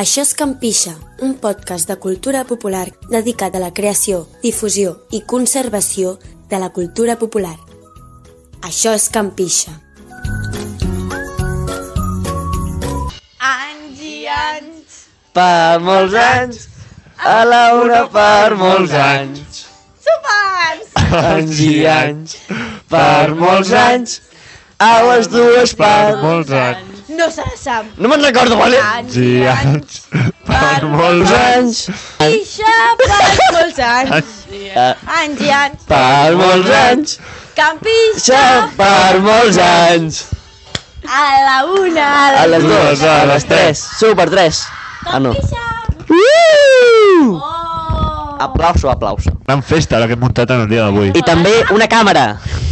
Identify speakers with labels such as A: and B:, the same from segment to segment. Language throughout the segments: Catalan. A: Això és Campixa, un podcast de cultura popular dedicat a la creació, difusió i conservació de la cultura popular. Això és Campixa.
B: Anys i anys.
C: Per molts anys, a Laura per molts anys,
B: Sopars!
C: anys i anys, per molts anys, a les dues per molts anys.
B: No se sap.
C: No me'n recordo, vale?
B: Anys i anys.
C: per molts anys,
B: Pixa per molts anys.
C: eh,
B: Anys i anys.
C: per molts anys,
B: Campixa
C: ja, per molts anys.
B: a la una.
C: A les dues, a les tres, super tres. Ah, no.
B: Campixa.
C: Uh!
B: Oh.
C: Aplauso, aplauso.
D: Gran festa la que hem muntat en el dia d'avui.
C: I també una càmera,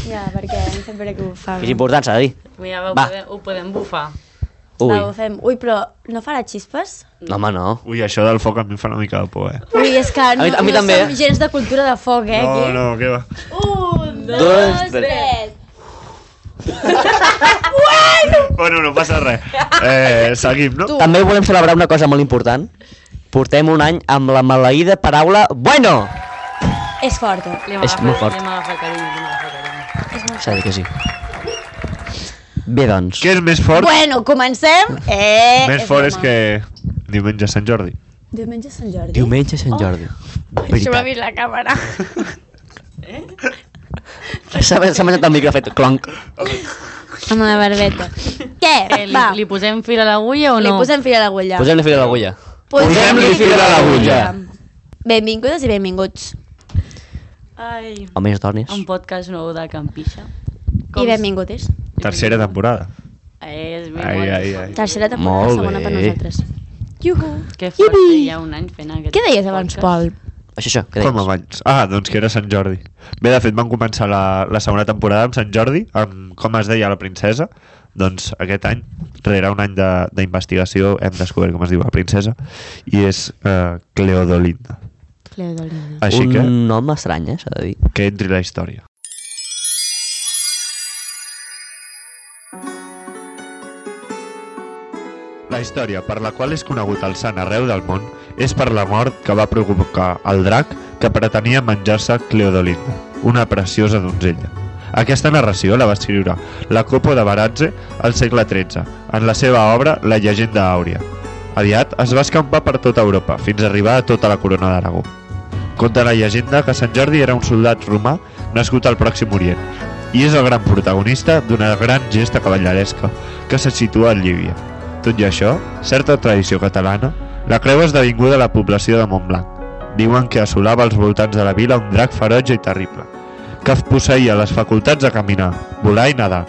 B: Ja, perquè em sap greu que ho fem.
C: que és important, s'ha de dir.
E: Mira, va, ho,
C: Va.
E: Podem, ho podem bufar.
C: Ui,
B: Va, Ah, ho fem. Ui, però no farà xispes?
C: no, home, no.
D: Ui, això del foc a mi em fa una mica de por, eh?
B: Ui, és que no,
C: mi- a mi
B: no
C: també,
B: som
C: eh?
B: gens de cultura de foc, eh?
D: No,
B: aquí.
D: no, què va.
B: Un, dos,
C: Dos,
B: tres.
D: Bueno, no passa res. Eh, seguim, no?
C: També volem celebrar una cosa molt important. Portem un any amb la maleïda paraula bueno!
B: És eh. forta.
E: Li hem
C: És
E: agafat-
C: molt fort.
E: Li hem agafat carinyo, li hem agafat carinyo.
C: S'ha de dir que sí. Bé, doncs.
D: Què és més fort?
B: Bueno, comencem. Eh,
D: més
B: és
D: fort és
B: broma.
D: que diumenge a Sant Jordi.
B: Diumenge és Sant Jordi.
C: Diumenge a Sant Jordi.
B: Això m'ha
C: Veritat.
B: vist la càmera.
C: Eh? S'ha s'ha menjat el micro, ha fet clonc.
B: Amb la barbeta. Què?
E: Eh, li,
B: Va,
E: li posem fil a l'agulla o
B: li
E: no?
B: posem fil a l'agulla.
C: Posem-li fil a l'agulla.
D: Posem-li fil a l'agulla.
B: Benvingudes i benvinguts.
E: Ai,
C: O més dones.
E: un podcast nou de Campixa.
B: I benvingudes.
D: Tercera temporada.
E: Eh, és ben
D: Ai,
E: bona.
D: ai, ai.
B: Tercera temporada,
C: Molt
B: segona per
C: bé.
B: nosaltres. Juhu.
E: Que fort
B: Yipi.
E: que hi ha un any fent aquest
B: Què deies abans,
E: podcast.
B: Pol?
C: Això, això, què
D: Com
C: deies?
D: abans. Ah, doncs que era Sant Jordi. Bé, de fet, van començar la, la segona temporada amb Sant Jordi, amb com es deia la princesa. Doncs aquest any, rere un any de- d'investigació, hem descobert com es diu la princesa, i és eh, Cleodolinda.
B: Cleodolina.
D: Així que,
C: Un nom estrany, eh, s'ha de dir.
D: que entri la història. La història per la qual és conegut el sant arreu del món és per la mort que va provocar el drac que pretenia menjar-se Cleodolinda, una preciosa donzella. Aquesta narració la va escriure la Copo de Baratze al segle XIII, en la seva obra La llegenda àurea. Aviat es va escampar per tota Europa, fins a arribar a tota la corona d'Aragó. Conta la llegenda que Sant Jordi era un soldat romà nascut al Pròxim Orient i és el gran protagonista d'una gran gesta cavalleresca que se situa en Llívia. Tot i això, certa tradició catalana, la creu és esdevinguda a la població de Montblanc. Diuen que assolava als voltants de la vila un drac ferotge i terrible, que posseïa les facultats de caminar, volar i nadar,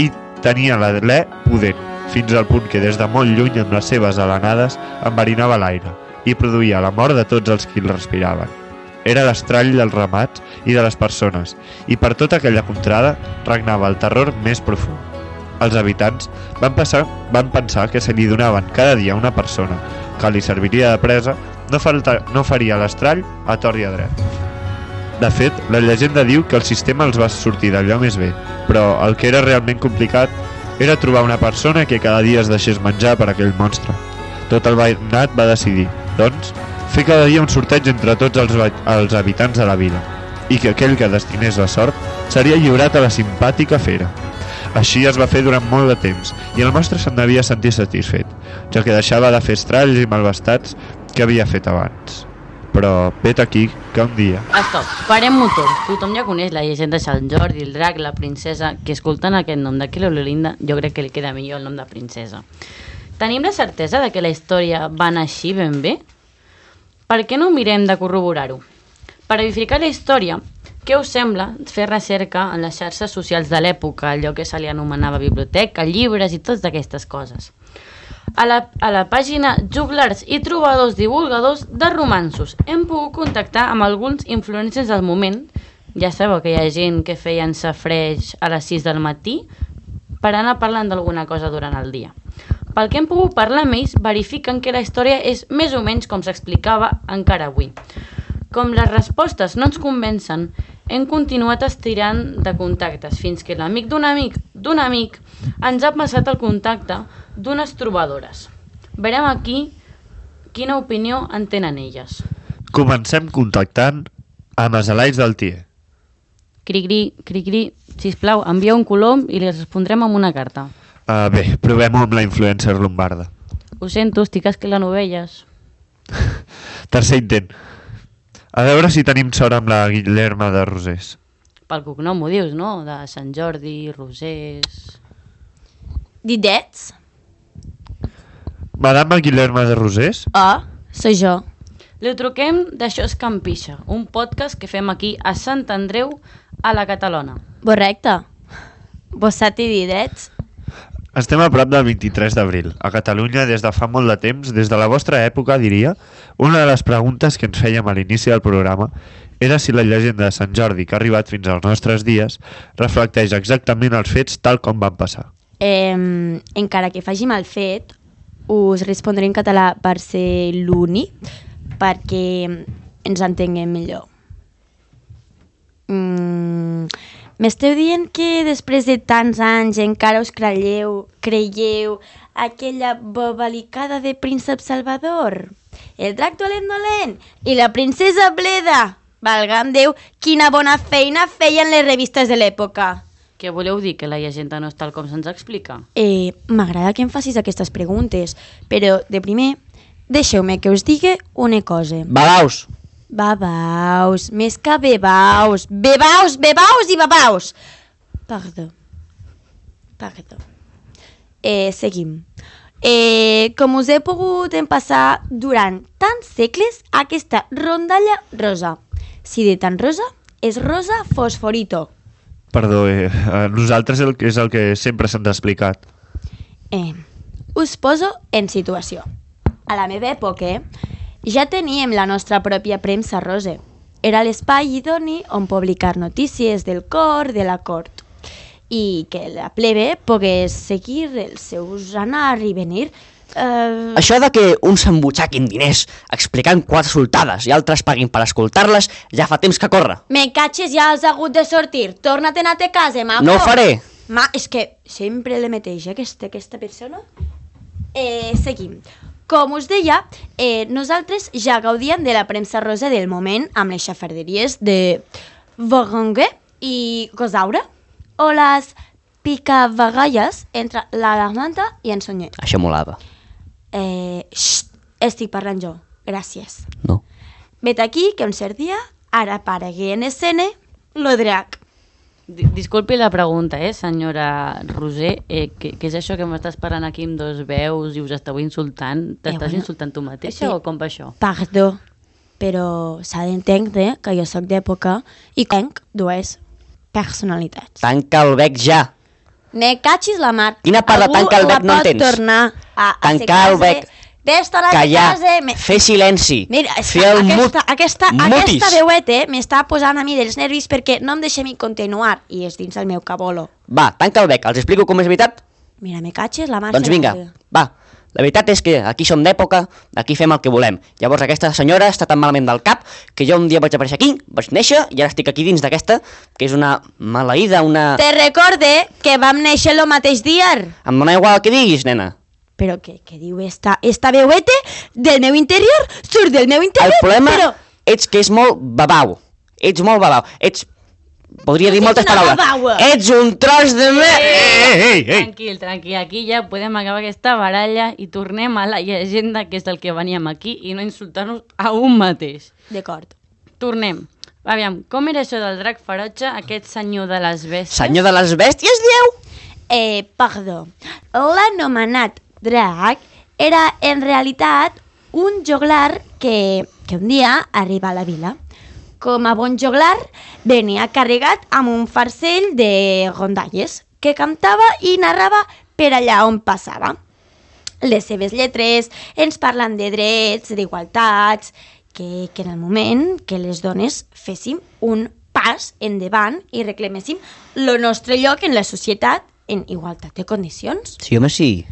D: i tenia l'alè pudent, fins al punt que des de molt lluny amb les seves alenades enverinava l'aire i produïa la mort de tots els qui el respiraven. Era l'estrall dels ramats i de les persones, i per tota aquella contrada regnava el terror més profund. Els habitants van, passar, van pensar que se li donaven cada dia una persona que li serviria de presa no, falta, no faria l'estrall a tort i a dret. De fet, la llegenda diu que el sistema els va sortir d'allò més bé, però el que era realment complicat era trobar una persona que cada dia es deixés menjar per aquell monstre. Tot el veïnat va decidir, doncs, fer cada dia un sorteig entre tots els, va- els habitants de la vila i que aquell que destinés la sort seria lliurat a la simpàtica fera. Així es va fer durant molt de temps i el monstre se'n devia sentir satisfet, ja que deixava de fer estralls i malvestats que havia fet abans. Però vet aquí que un dia
E: Stop, parem-ho tot. Tothom ja coneix la llegenda de Sant Jordi, el drac, la princesa, que escoltant aquest nom de Cleolinda, jo crec que li queda millor el nom de princesa. Tenim la certesa de que la història va anar així ben bé? Per què no mirem de corroborar-ho? Per verificar la història, què us sembla fer recerca en les xarxes socials de l'època, allò que se li anomenava biblioteca, llibres i totes aquestes coses? A la, a la pàgina Juglars i Trobadors Divulgadors de Romansos hem pogut contactar amb alguns influencers del moment. Ja sabeu que hi ha gent que feien safreig a les 6 del matí per anar parlant d'alguna cosa durant el dia. Pel que hem pogut parlar amb ells, verifiquen que la història és més o menys com s'explicava encara avui. Com les respostes no ens convencen, hem continuat estirant de contactes fins que l'amic d'un amic d'un amic ens ha passat el contacte d'unes trobadores. Verem aquí Quina opinió en tenen elles?
D: Comencem contactant amb els alais del Tier.
E: Cricri, cricri, sisplau, envia un colom i li respondrem amb una carta.
D: Uh, bé, provem-ho amb la influencer lombarda.
E: Ho sento, estic esquilant ovelles.
D: Tercer intent. A veure si tenim sort amb la Guillerma de Rosés.
E: Pel cognom ho dius, no? De Sant Jordi, Rosers...
B: Didets?
D: Madame Guillerma de Rosés?
B: Ah, soy jo.
E: Li truquem d'Això és Campixa, un podcast que fem aquí a Sant Andreu, a la Catalona.
B: Correcte. Bossati Didets?
D: Estem a prop del 23 d'abril. A Catalunya, des de fa molt de temps, des de la vostra època, diria, una de les preguntes que ens fèiem a l'inici del programa era si la llegenda de Sant Jordi que ha arribat fins als nostres dies reflecteix exactament els fets tal com van passar.
B: Eh, encara que faci mal fet, us respondré en català per ser l'uni, perquè ens entenguem millor. Mm, M'esteu dient que després de tants anys encara us creieu, creieu aquella bobalicada de príncep Salvador? El drac dolent dolent i la princesa bleda! Valga'm Déu, quina bona feina feien les revistes de l'època!
E: Què voleu dir, que la llegenda no és tal com se'ns explica?
B: Eh, M'agrada que em facis aquestes preguntes, però de primer deixeu-me que us digui una cosa.
C: Balaus!
B: Babaus, més que bebaus, bebaus, bebaus i babaus. Perdó. Perdó. Eh, seguim. Eh, com us he pogut empassar durant tants segles aquesta rondalla rosa. Si de tan rosa, és rosa fosforito.
D: Perdó, eh, a nosaltres el, és el que sempre se'ns ha explicat.
B: Eh, us poso en situació. A la meva època ja teníem la nostra pròpia premsa rose. Era l'espai idoni on publicar notícies del cor de la cort i que la plebe pogués seguir els seus anar i venir. Eh,
C: Mm. Això de que uns s'embutxaquin diners explicant quatre soltades i altres paguin per escoltar-les ja fa temps que corre.
B: me catxes, ja has hagut de sortir. Torna-te'n a te casa, maco.
C: No ho faré.
B: Ma, és que sempre la mateixa, aquesta, aquesta persona. Eh, seguim. Com us deia, eh, nosaltres ja gaudíem de la premsa rosa del moment amb les xafarderies de Vogongue i Gosaura o les picabagalles entre la Lamanta i en Sonyer.
C: Això molava.
B: Eh, xt, estic parlant jo. Gràcies.
C: No.
B: Vet aquí que un cert dia ara aparegui en escena lo drac.
E: Di- Disculpi la pregunta, eh, senyora Roser, eh, què, què és això que m'estàs parlant aquí amb dos veus i us esteu insultant? T'estàs
B: Eh, bueno,
E: insultant tu mateixa
B: sí.
E: o com va això?
B: Perdó, però s'ha d'entendre que jo sóc d'època i tenc dues personalitats.
C: Tanca el bec ja.
B: Me catxis la mar.
C: Quina part de
B: Algú
C: tanca el
B: la
C: bec no en
B: pot
C: tens?
B: tornar a, a
C: Tancar
B: ser classe.
C: el bec.
B: Ves-te a la
C: Callar.
B: classe. Me...
C: Fer silenci.
B: Mira, és
C: fer
B: que
C: el mut.
B: aquesta, aquesta,
C: mutis.
B: aquesta veueta m'està posant a mi dels nervis perquè no em deixem continuar i és dins el meu cabolo.
C: Va, tanca el bec. Els explico com és veritat?
B: Mira, me catxes la mar.
C: Doncs vinga, va. La veritat és que aquí som d'època, aquí fem el que volem. Llavors aquesta senyora està tan malament del cap que jo un dia vaig aparèixer aquí, vaig néixer i ara estic aquí dins d'aquesta, que és una maleïda, una...
B: Te recorde que vam néixer el mateix dia.
C: Em dona igual el que diguis, nena.
B: Però què, què diu esta, esta veueta del meu interior? Surt del meu
C: El
B: interior,
C: problema
B: però...
C: ets que és molt babau. Ets molt babau. Ets... Podria dir
B: ets
C: moltes
B: una
C: paraules.
B: babaua.
C: Ets un tros de... me-
D: Ei, ei, ei!
E: Tranquil, tranquil, aquí ja podem acabar aquesta baralla i tornem a la llegenda, que és del que veníem aquí, i no insultar-nos a un mateix.
B: D'acord.
E: Tornem. Aviam, com era això del drac ferotge, aquest senyor de les bestes?
C: Senyor de les bèsties, dieu?
B: Eh, perdó. L'anomenat drac era en realitat un joglar que, que un dia arriba a la vila. Com a bon joglar, venia carregat amb un farcell de rondalles que cantava i narrava per allà on passava. les seves lletres ens parlen de drets, d'igualtats, que, que en el moment que les dones féssim un pas endavant i reclaméssim el nostre lloc en la societat en igualtat de condicions.
C: Sí, home, sí.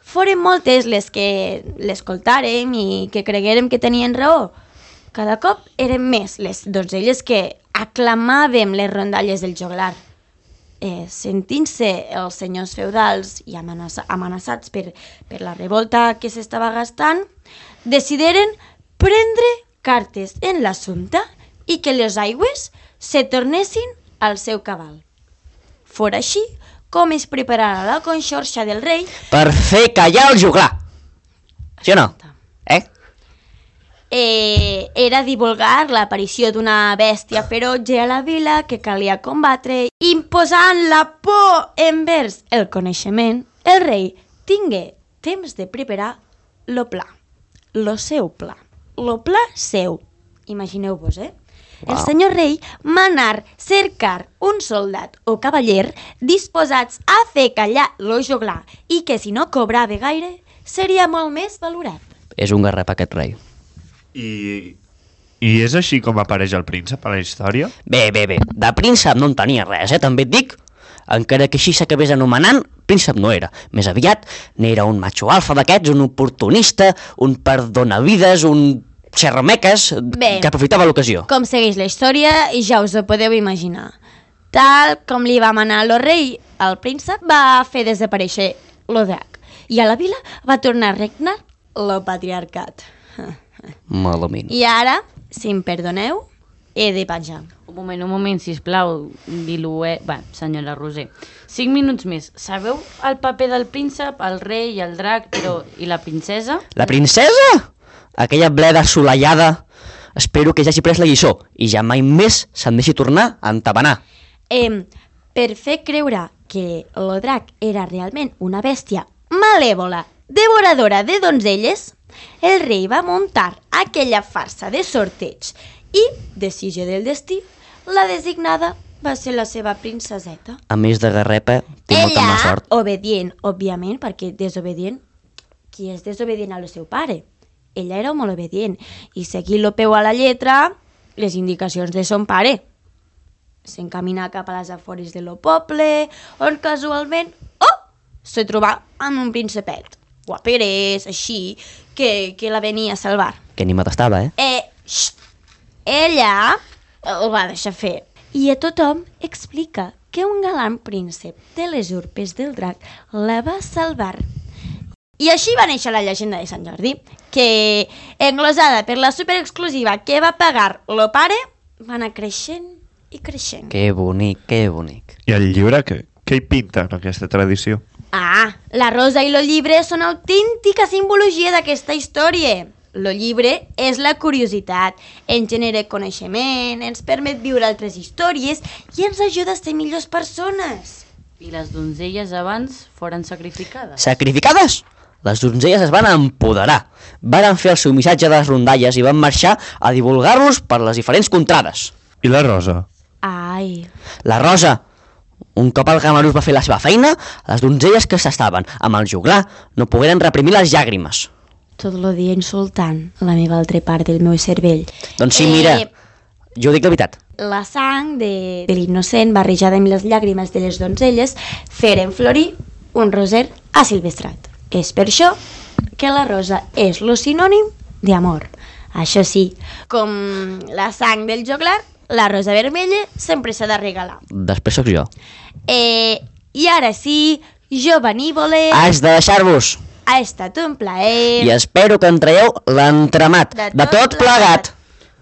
B: Foren moltes les que l'escoltàrem i que creguérem que tenien raó. Cada cop eren més les donzelles que aclamàvem les rondalles del joglar. Eh, Sentint-se els senyors feudals i amenaça, amenaçats per, per la revolta que s'estava gastant, decideren prendre cartes en l'assumpte i que les aigües se tornessin al seu cabal. Fora així com es prepararà la conxorxa del rei
C: Per fer callar el juglar. Sí o no? Eh?
B: eh, era divulgar l'aparició d'una bèstia ferotge a la vila que calia combatre, imposant la por envers el coneixement, el rei tingué temps de preparar lo pla, lo seu pla, lo pla seu. Imagineu-vos, eh? El senyor rei manar cercar un soldat o cavaller disposats a fer callar lo joglar i que si no cobrava gaire seria molt més valorat.
C: És un garrap aquest rei.
D: I... I és així com apareix el príncep a la història?
C: Bé, bé, bé, de príncep no en tenia res, eh, també et dic. Encara que així s'acabés anomenant, príncep no era. Més aviat, n'era un macho alfa d'aquests, un oportunista, un perdonavides, un xerrameques,
B: Bé.
C: que aprofitava l'ocasió.
B: Com segueix la història, ja us ho podeu imaginar. Tal com li va manar lo rei, el príncep va fer desaparèixer lo drac i a la vila va tornar a regnar lo patriarcat.
C: Malament.
B: I ara, si em perdoneu, he de penjar.
E: Un moment, un moment, sisplau, dilué... Va, senyora Roser, cinc minuts més. Sabeu el paper del príncep, el rei i el drac, però... I la princesa?
C: La princesa? Aquella bleda assolellada. Espero que ja hagi pres la lliçó i ja mai més se'n deixi tornar a entabanar.
B: Eh, per fer creure que lo drac era realment una bèstia malèvola, devoradora de donzelles, el rei va muntar aquella farsa de sorteig i, decisió del destí, la designada va ser la seva princeseta.
C: A més de garrepa, té molta mala
B: Ella,
C: sort.
B: obedient, òbviament, perquè desobedient, qui és desobedient al seu pare? Ella era molt obedient i seguint lo peu a la lletra les indicacions de son pare. S'encaminà cap a les afores de lo poble, on casualment, oh, se trobà amb un principet. Guaperès, així, que, que la venia a salvar.
C: Que animat estava, eh?
B: Eh, xt, ella el va deixar fer. I a tothom explica que un galant príncep de les urpes del drac la va salvar. I així va néixer la llegenda de Sant Jordi, que, englosada per la superexclusiva que va pagar lo pare, va anar creixent i creixent.
C: Que bonic, que bonic.
D: I el llibre, què, què hi pinta en aquesta tradició?
B: Ah, la rosa i lo llibre són autèntica simbologia d'aquesta història. Lo llibre és la curiositat, ens genera coneixement, ens permet viure altres històries i ens ajuda a ser millors persones.
E: I les donzelles abans foren sacrificades.
C: Sacrificades? Les donzelles es van empoderar. Varen fer el seu missatge de les rondalles i van marxar a divulgar-los per les diferents contrades.
D: I la rosa?
B: Ai,
C: La Rosa, un cop el Gamarús va fer la seva feina, les donzelles que s'estaven amb el juglar no pogueren reprimir les llàgrimes.
B: tot lo dia insultant la meva altra part del meu cervell.
C: Doncs sí, mira,
B: Eh.
C: jo dic la veritat.
B: La sang de, de l'innocent barrejada amb les llàgrimes de les donzelles feren florir un roser asilvestrat. És per això que la rosa és lo sinònim d'amor. Això sí, com la sang del joglar, la rosa vermella sempre s'ha de regalar.
C: Després sóc jo.
B: Eh, I ara sí, jo benívoler, Ai.
C: Has de deixar-vos
B: ha estat un
C: i
B: plaer.
C: espero que en traieu l'entremat Eh. de, tot plegat.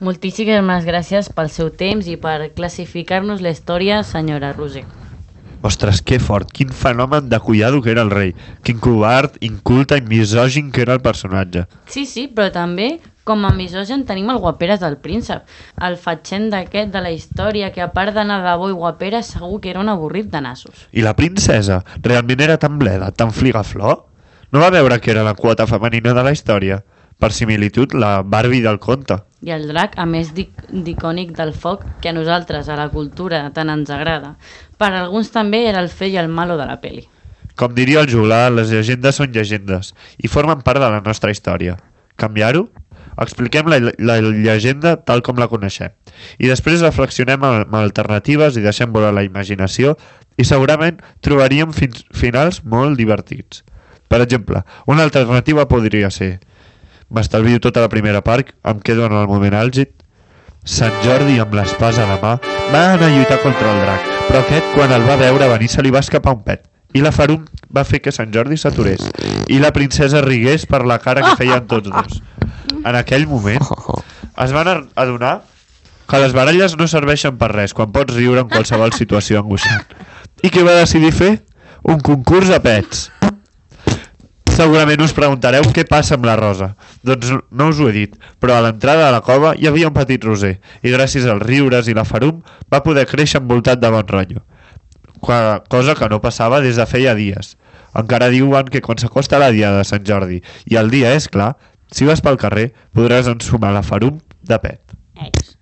E: Moltíssimes gràcies pel seu temps i per classificar-nos la història, senyora Roser.
D: Ostres, que fort, quin fenomen de cuidado que era el rei. Quin covard, inculte i misògin que era el personatge.
E: Sí, sí, però també com a misogen tenim el guaperes del príncep, el fatxent d'aquest de la història, que a part d'anar de bo i guapera segur que era un avorrit de nassos.
D: I la princesa realment era tan bleda, tan fligaflor? No va veure que era la quota femenina de la història? Per similitud, la Barbie del conte.
E: I el drac, a més dic- d'icònic del foc, que a nosaltres, a la cultura, tant ens agrada. Per alguns també era el fe i el malo de la peli.
D: Com diria el juglar, les llegendes són llegendes i formen part de la nostra història. Canviar-ho? Expliquem la, la llegenda tal com la coneixem i després reflexionem amb amb alternatives i deixem volar la imaginació i segurament trobaríem fins, finals molt divertits. Per exemple, una alternativa podria ser M'estalvio tota la primera part, em quedo en el moment àlgid Sant Jordi amb l'espasa a la mà va anar a lluitar contra el drac, però aquest quan el va veure venir se li va escapar un pet i la Farum va fer que Sant Jordi s'aturés i la princesa rigués per la cara que feien tots dos. en aquell moment, es van ar- adonar que les baralles no serveixen per res quan pots riure en qualsevol situació angoixant. I què va decidir fer? Un concurs a pets. Segurament us preguntareu què passa amb la Rosa. Doncs no us ho he dit, però a l'entrada de la cova hi havia un petit roser i gràcies als riures i la farum va poder créixer envoltat de bon rotllo. Qua- Cosa que no passava des de feia dies. Encara diuen que quan s'acosta la dia de Sant Jordi i el dia és clar, si vas pel carrer podràs ensumar la farum de pet.
E: Eis.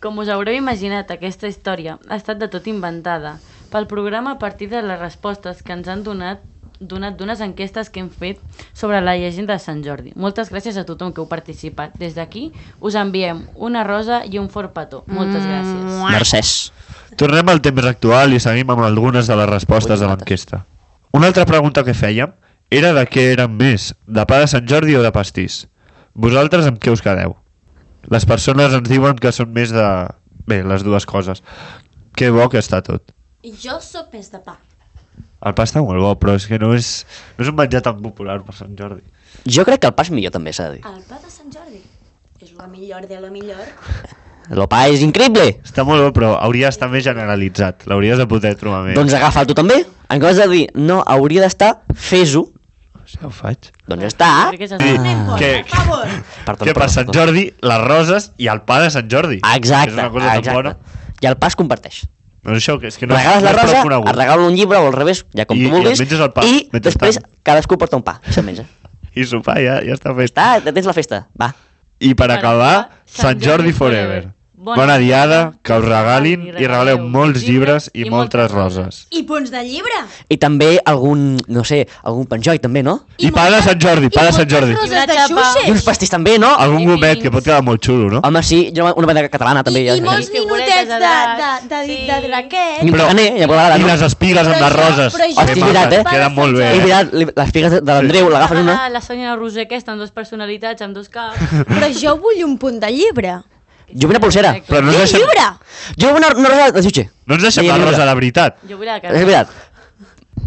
E: Com us haureu imaginat, aquesta història ha estat de tot inventada pel programa a partir de les respostes que ens han donat donat d'unes enquestes que hem fet sobre la llegenda de Sant Jordi. Moltes gràcies a tothom que heu participat. Des d'aquí us enviem una rosa i un fort petó. Moltes gràcies.
C: Mercès.
D: Tornem al temps actual i seguim amb algunes de les respostes de l'enquesta. Una altra pregunta que fèiem era de què eren més, de pa de Sant Jordi o de pastís? Vosaltres amb què us quedeu? Les persones ens diuen que són més de... Bé, les dues coses. Que bo que està tot.
A: Jo sóc més de pa.
D: El pa està molt bo, però és que no és, no és un menjar tan popular per Sant Jordi.
C: Jo crec que el pa és millor també, s'ha de dir.
A: El pa de Sant Jordi és la millor de la millor.
C: El pa és increïble.
D: Està molt bo, però hauria d'estar més generalitzat. L'hauries de poder trobar més.
C: Doncs agafa'l tu també. En comptes de dir, no, hauria d'estar, fes-ho.
D: Ja ho faig.
C: Doncs ja està.
E: Crec que és el-
D: que,
C: Perdó,
D: que per
C: perdó,
D: Sant
C: perdó.
D: Jordi, les roses i el pa de Sant Jordi.
C: Ah, Exacte,
D: És una cosa
C: exacte.
D: tan bona.
C: I el pa es comparteix.
D: No, això, que és que no,
C: Regales
D: no
C: la
D: és prou
C: rosa,
D: conegut.
C: et regalo un llibre o al revés, ja com
D: I-
C: tu
D: i
C: vulguis,
D: et menges el pa,
C: i
D: mentrestant.
C: després cadascú porta un pa i se'l menja.
D: I sopar, ja, ja està fet.
C: Està, ja tens la festa, va.
D: I per acabar,
E: Sant
D: Sant Jordi
E: Jordi forever.
D: Forever. Bona, diada, que us regalin i regaleu molts llibres i moltes roses.
A: I punts de llibre.
C: I també algun, no sé, algun penjoi també, no?
D: I pa de Sant Jordi, pa de Sant Jordi.
E: roses.
A: Roses
E: I
A: de
E: una xapa.
C: I uns
A: xuxes.
C: pastís també, no? Algun...
D: Algun
E: I
D: gomet que
E: vins.
D: pot quedar molt xulo, no?
C: Home, sí, jo- una bandera catalana també.
A: I,
C: ja,
A: i molts
E: sí.
A: minutets de, de, de, de,
E: Sí.
A: de draquet.
C: I un carner, ja pot agradar,
D: I
C: no?
D: les espigues amb
A: Però
D: les
A: jo-
D: roses.
A: però jo-
D: Que
C: Hosti,
D: maques,
C: mirat, eh?
D: Queden molt bé.
C: I
D: eh?
C: mira, li- les figues de l'Andreu, l'agafes una...
E: Ah, la senyora Roser aquesta, amb dues personalitats, amb dos caps.
A: Però jo vull un punt de llibre.
C: Jo vull una pulsera.
E: Perfecte.
D: Però no
A: Un
D: ens deixem,
A: llibre!
C: Jo vull una, una rosa de jutge.
D: no ens deixem
C: Sí,
D: la
C: llibre.
D: rosa, la veritat.
E: Jo vull la
C: És
E: carta.
C: veritat.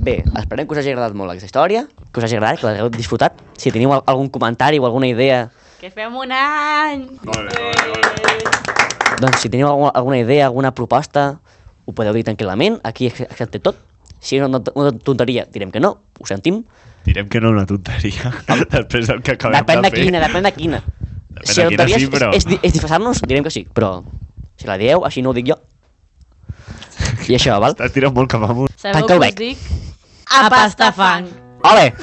C: Bé, esperem que us hagi agradat molt aquesta història, que us hagi agradat, que l'hagueu disfrutat. Si teniu al- algun comentari o alguna idea,
E: Que fem un any!
C: doncs si teniu alguna, alguna idea, alguna proposta, ho podeu dir tranquil·lament, aquí ac- acceptem tot. Si és una, tont- una tonteria, direm que no, ho sentim.
D: Direm que no una tonteria. Després del que acabem
C: Depèn
D: de
C: de
D: fer.
C: quina, depèn de quina.
D: Depèn
C: Si
D: de
C: la
D: quina,
C: tonteria
D: sí,
C: és,
D: però-
C: és, di- és disfressar-nos, direm que sí, però si la dieu, així no ho dic jo. I això, val?
D: Estàs tirant molt cap amunt.
E: Sabeu
C: Tanca
E: què
C: el
E: us
C: bec.
E: dic? A pasta fang!
C: Ole!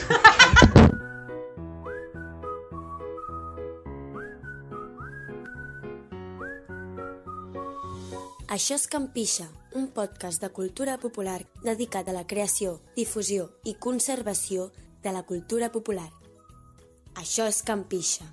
A: Això és Campixa, un podcast de cultura popular dedicat a la creació, difusió i conservació de la cultura popular. Això és Campixa.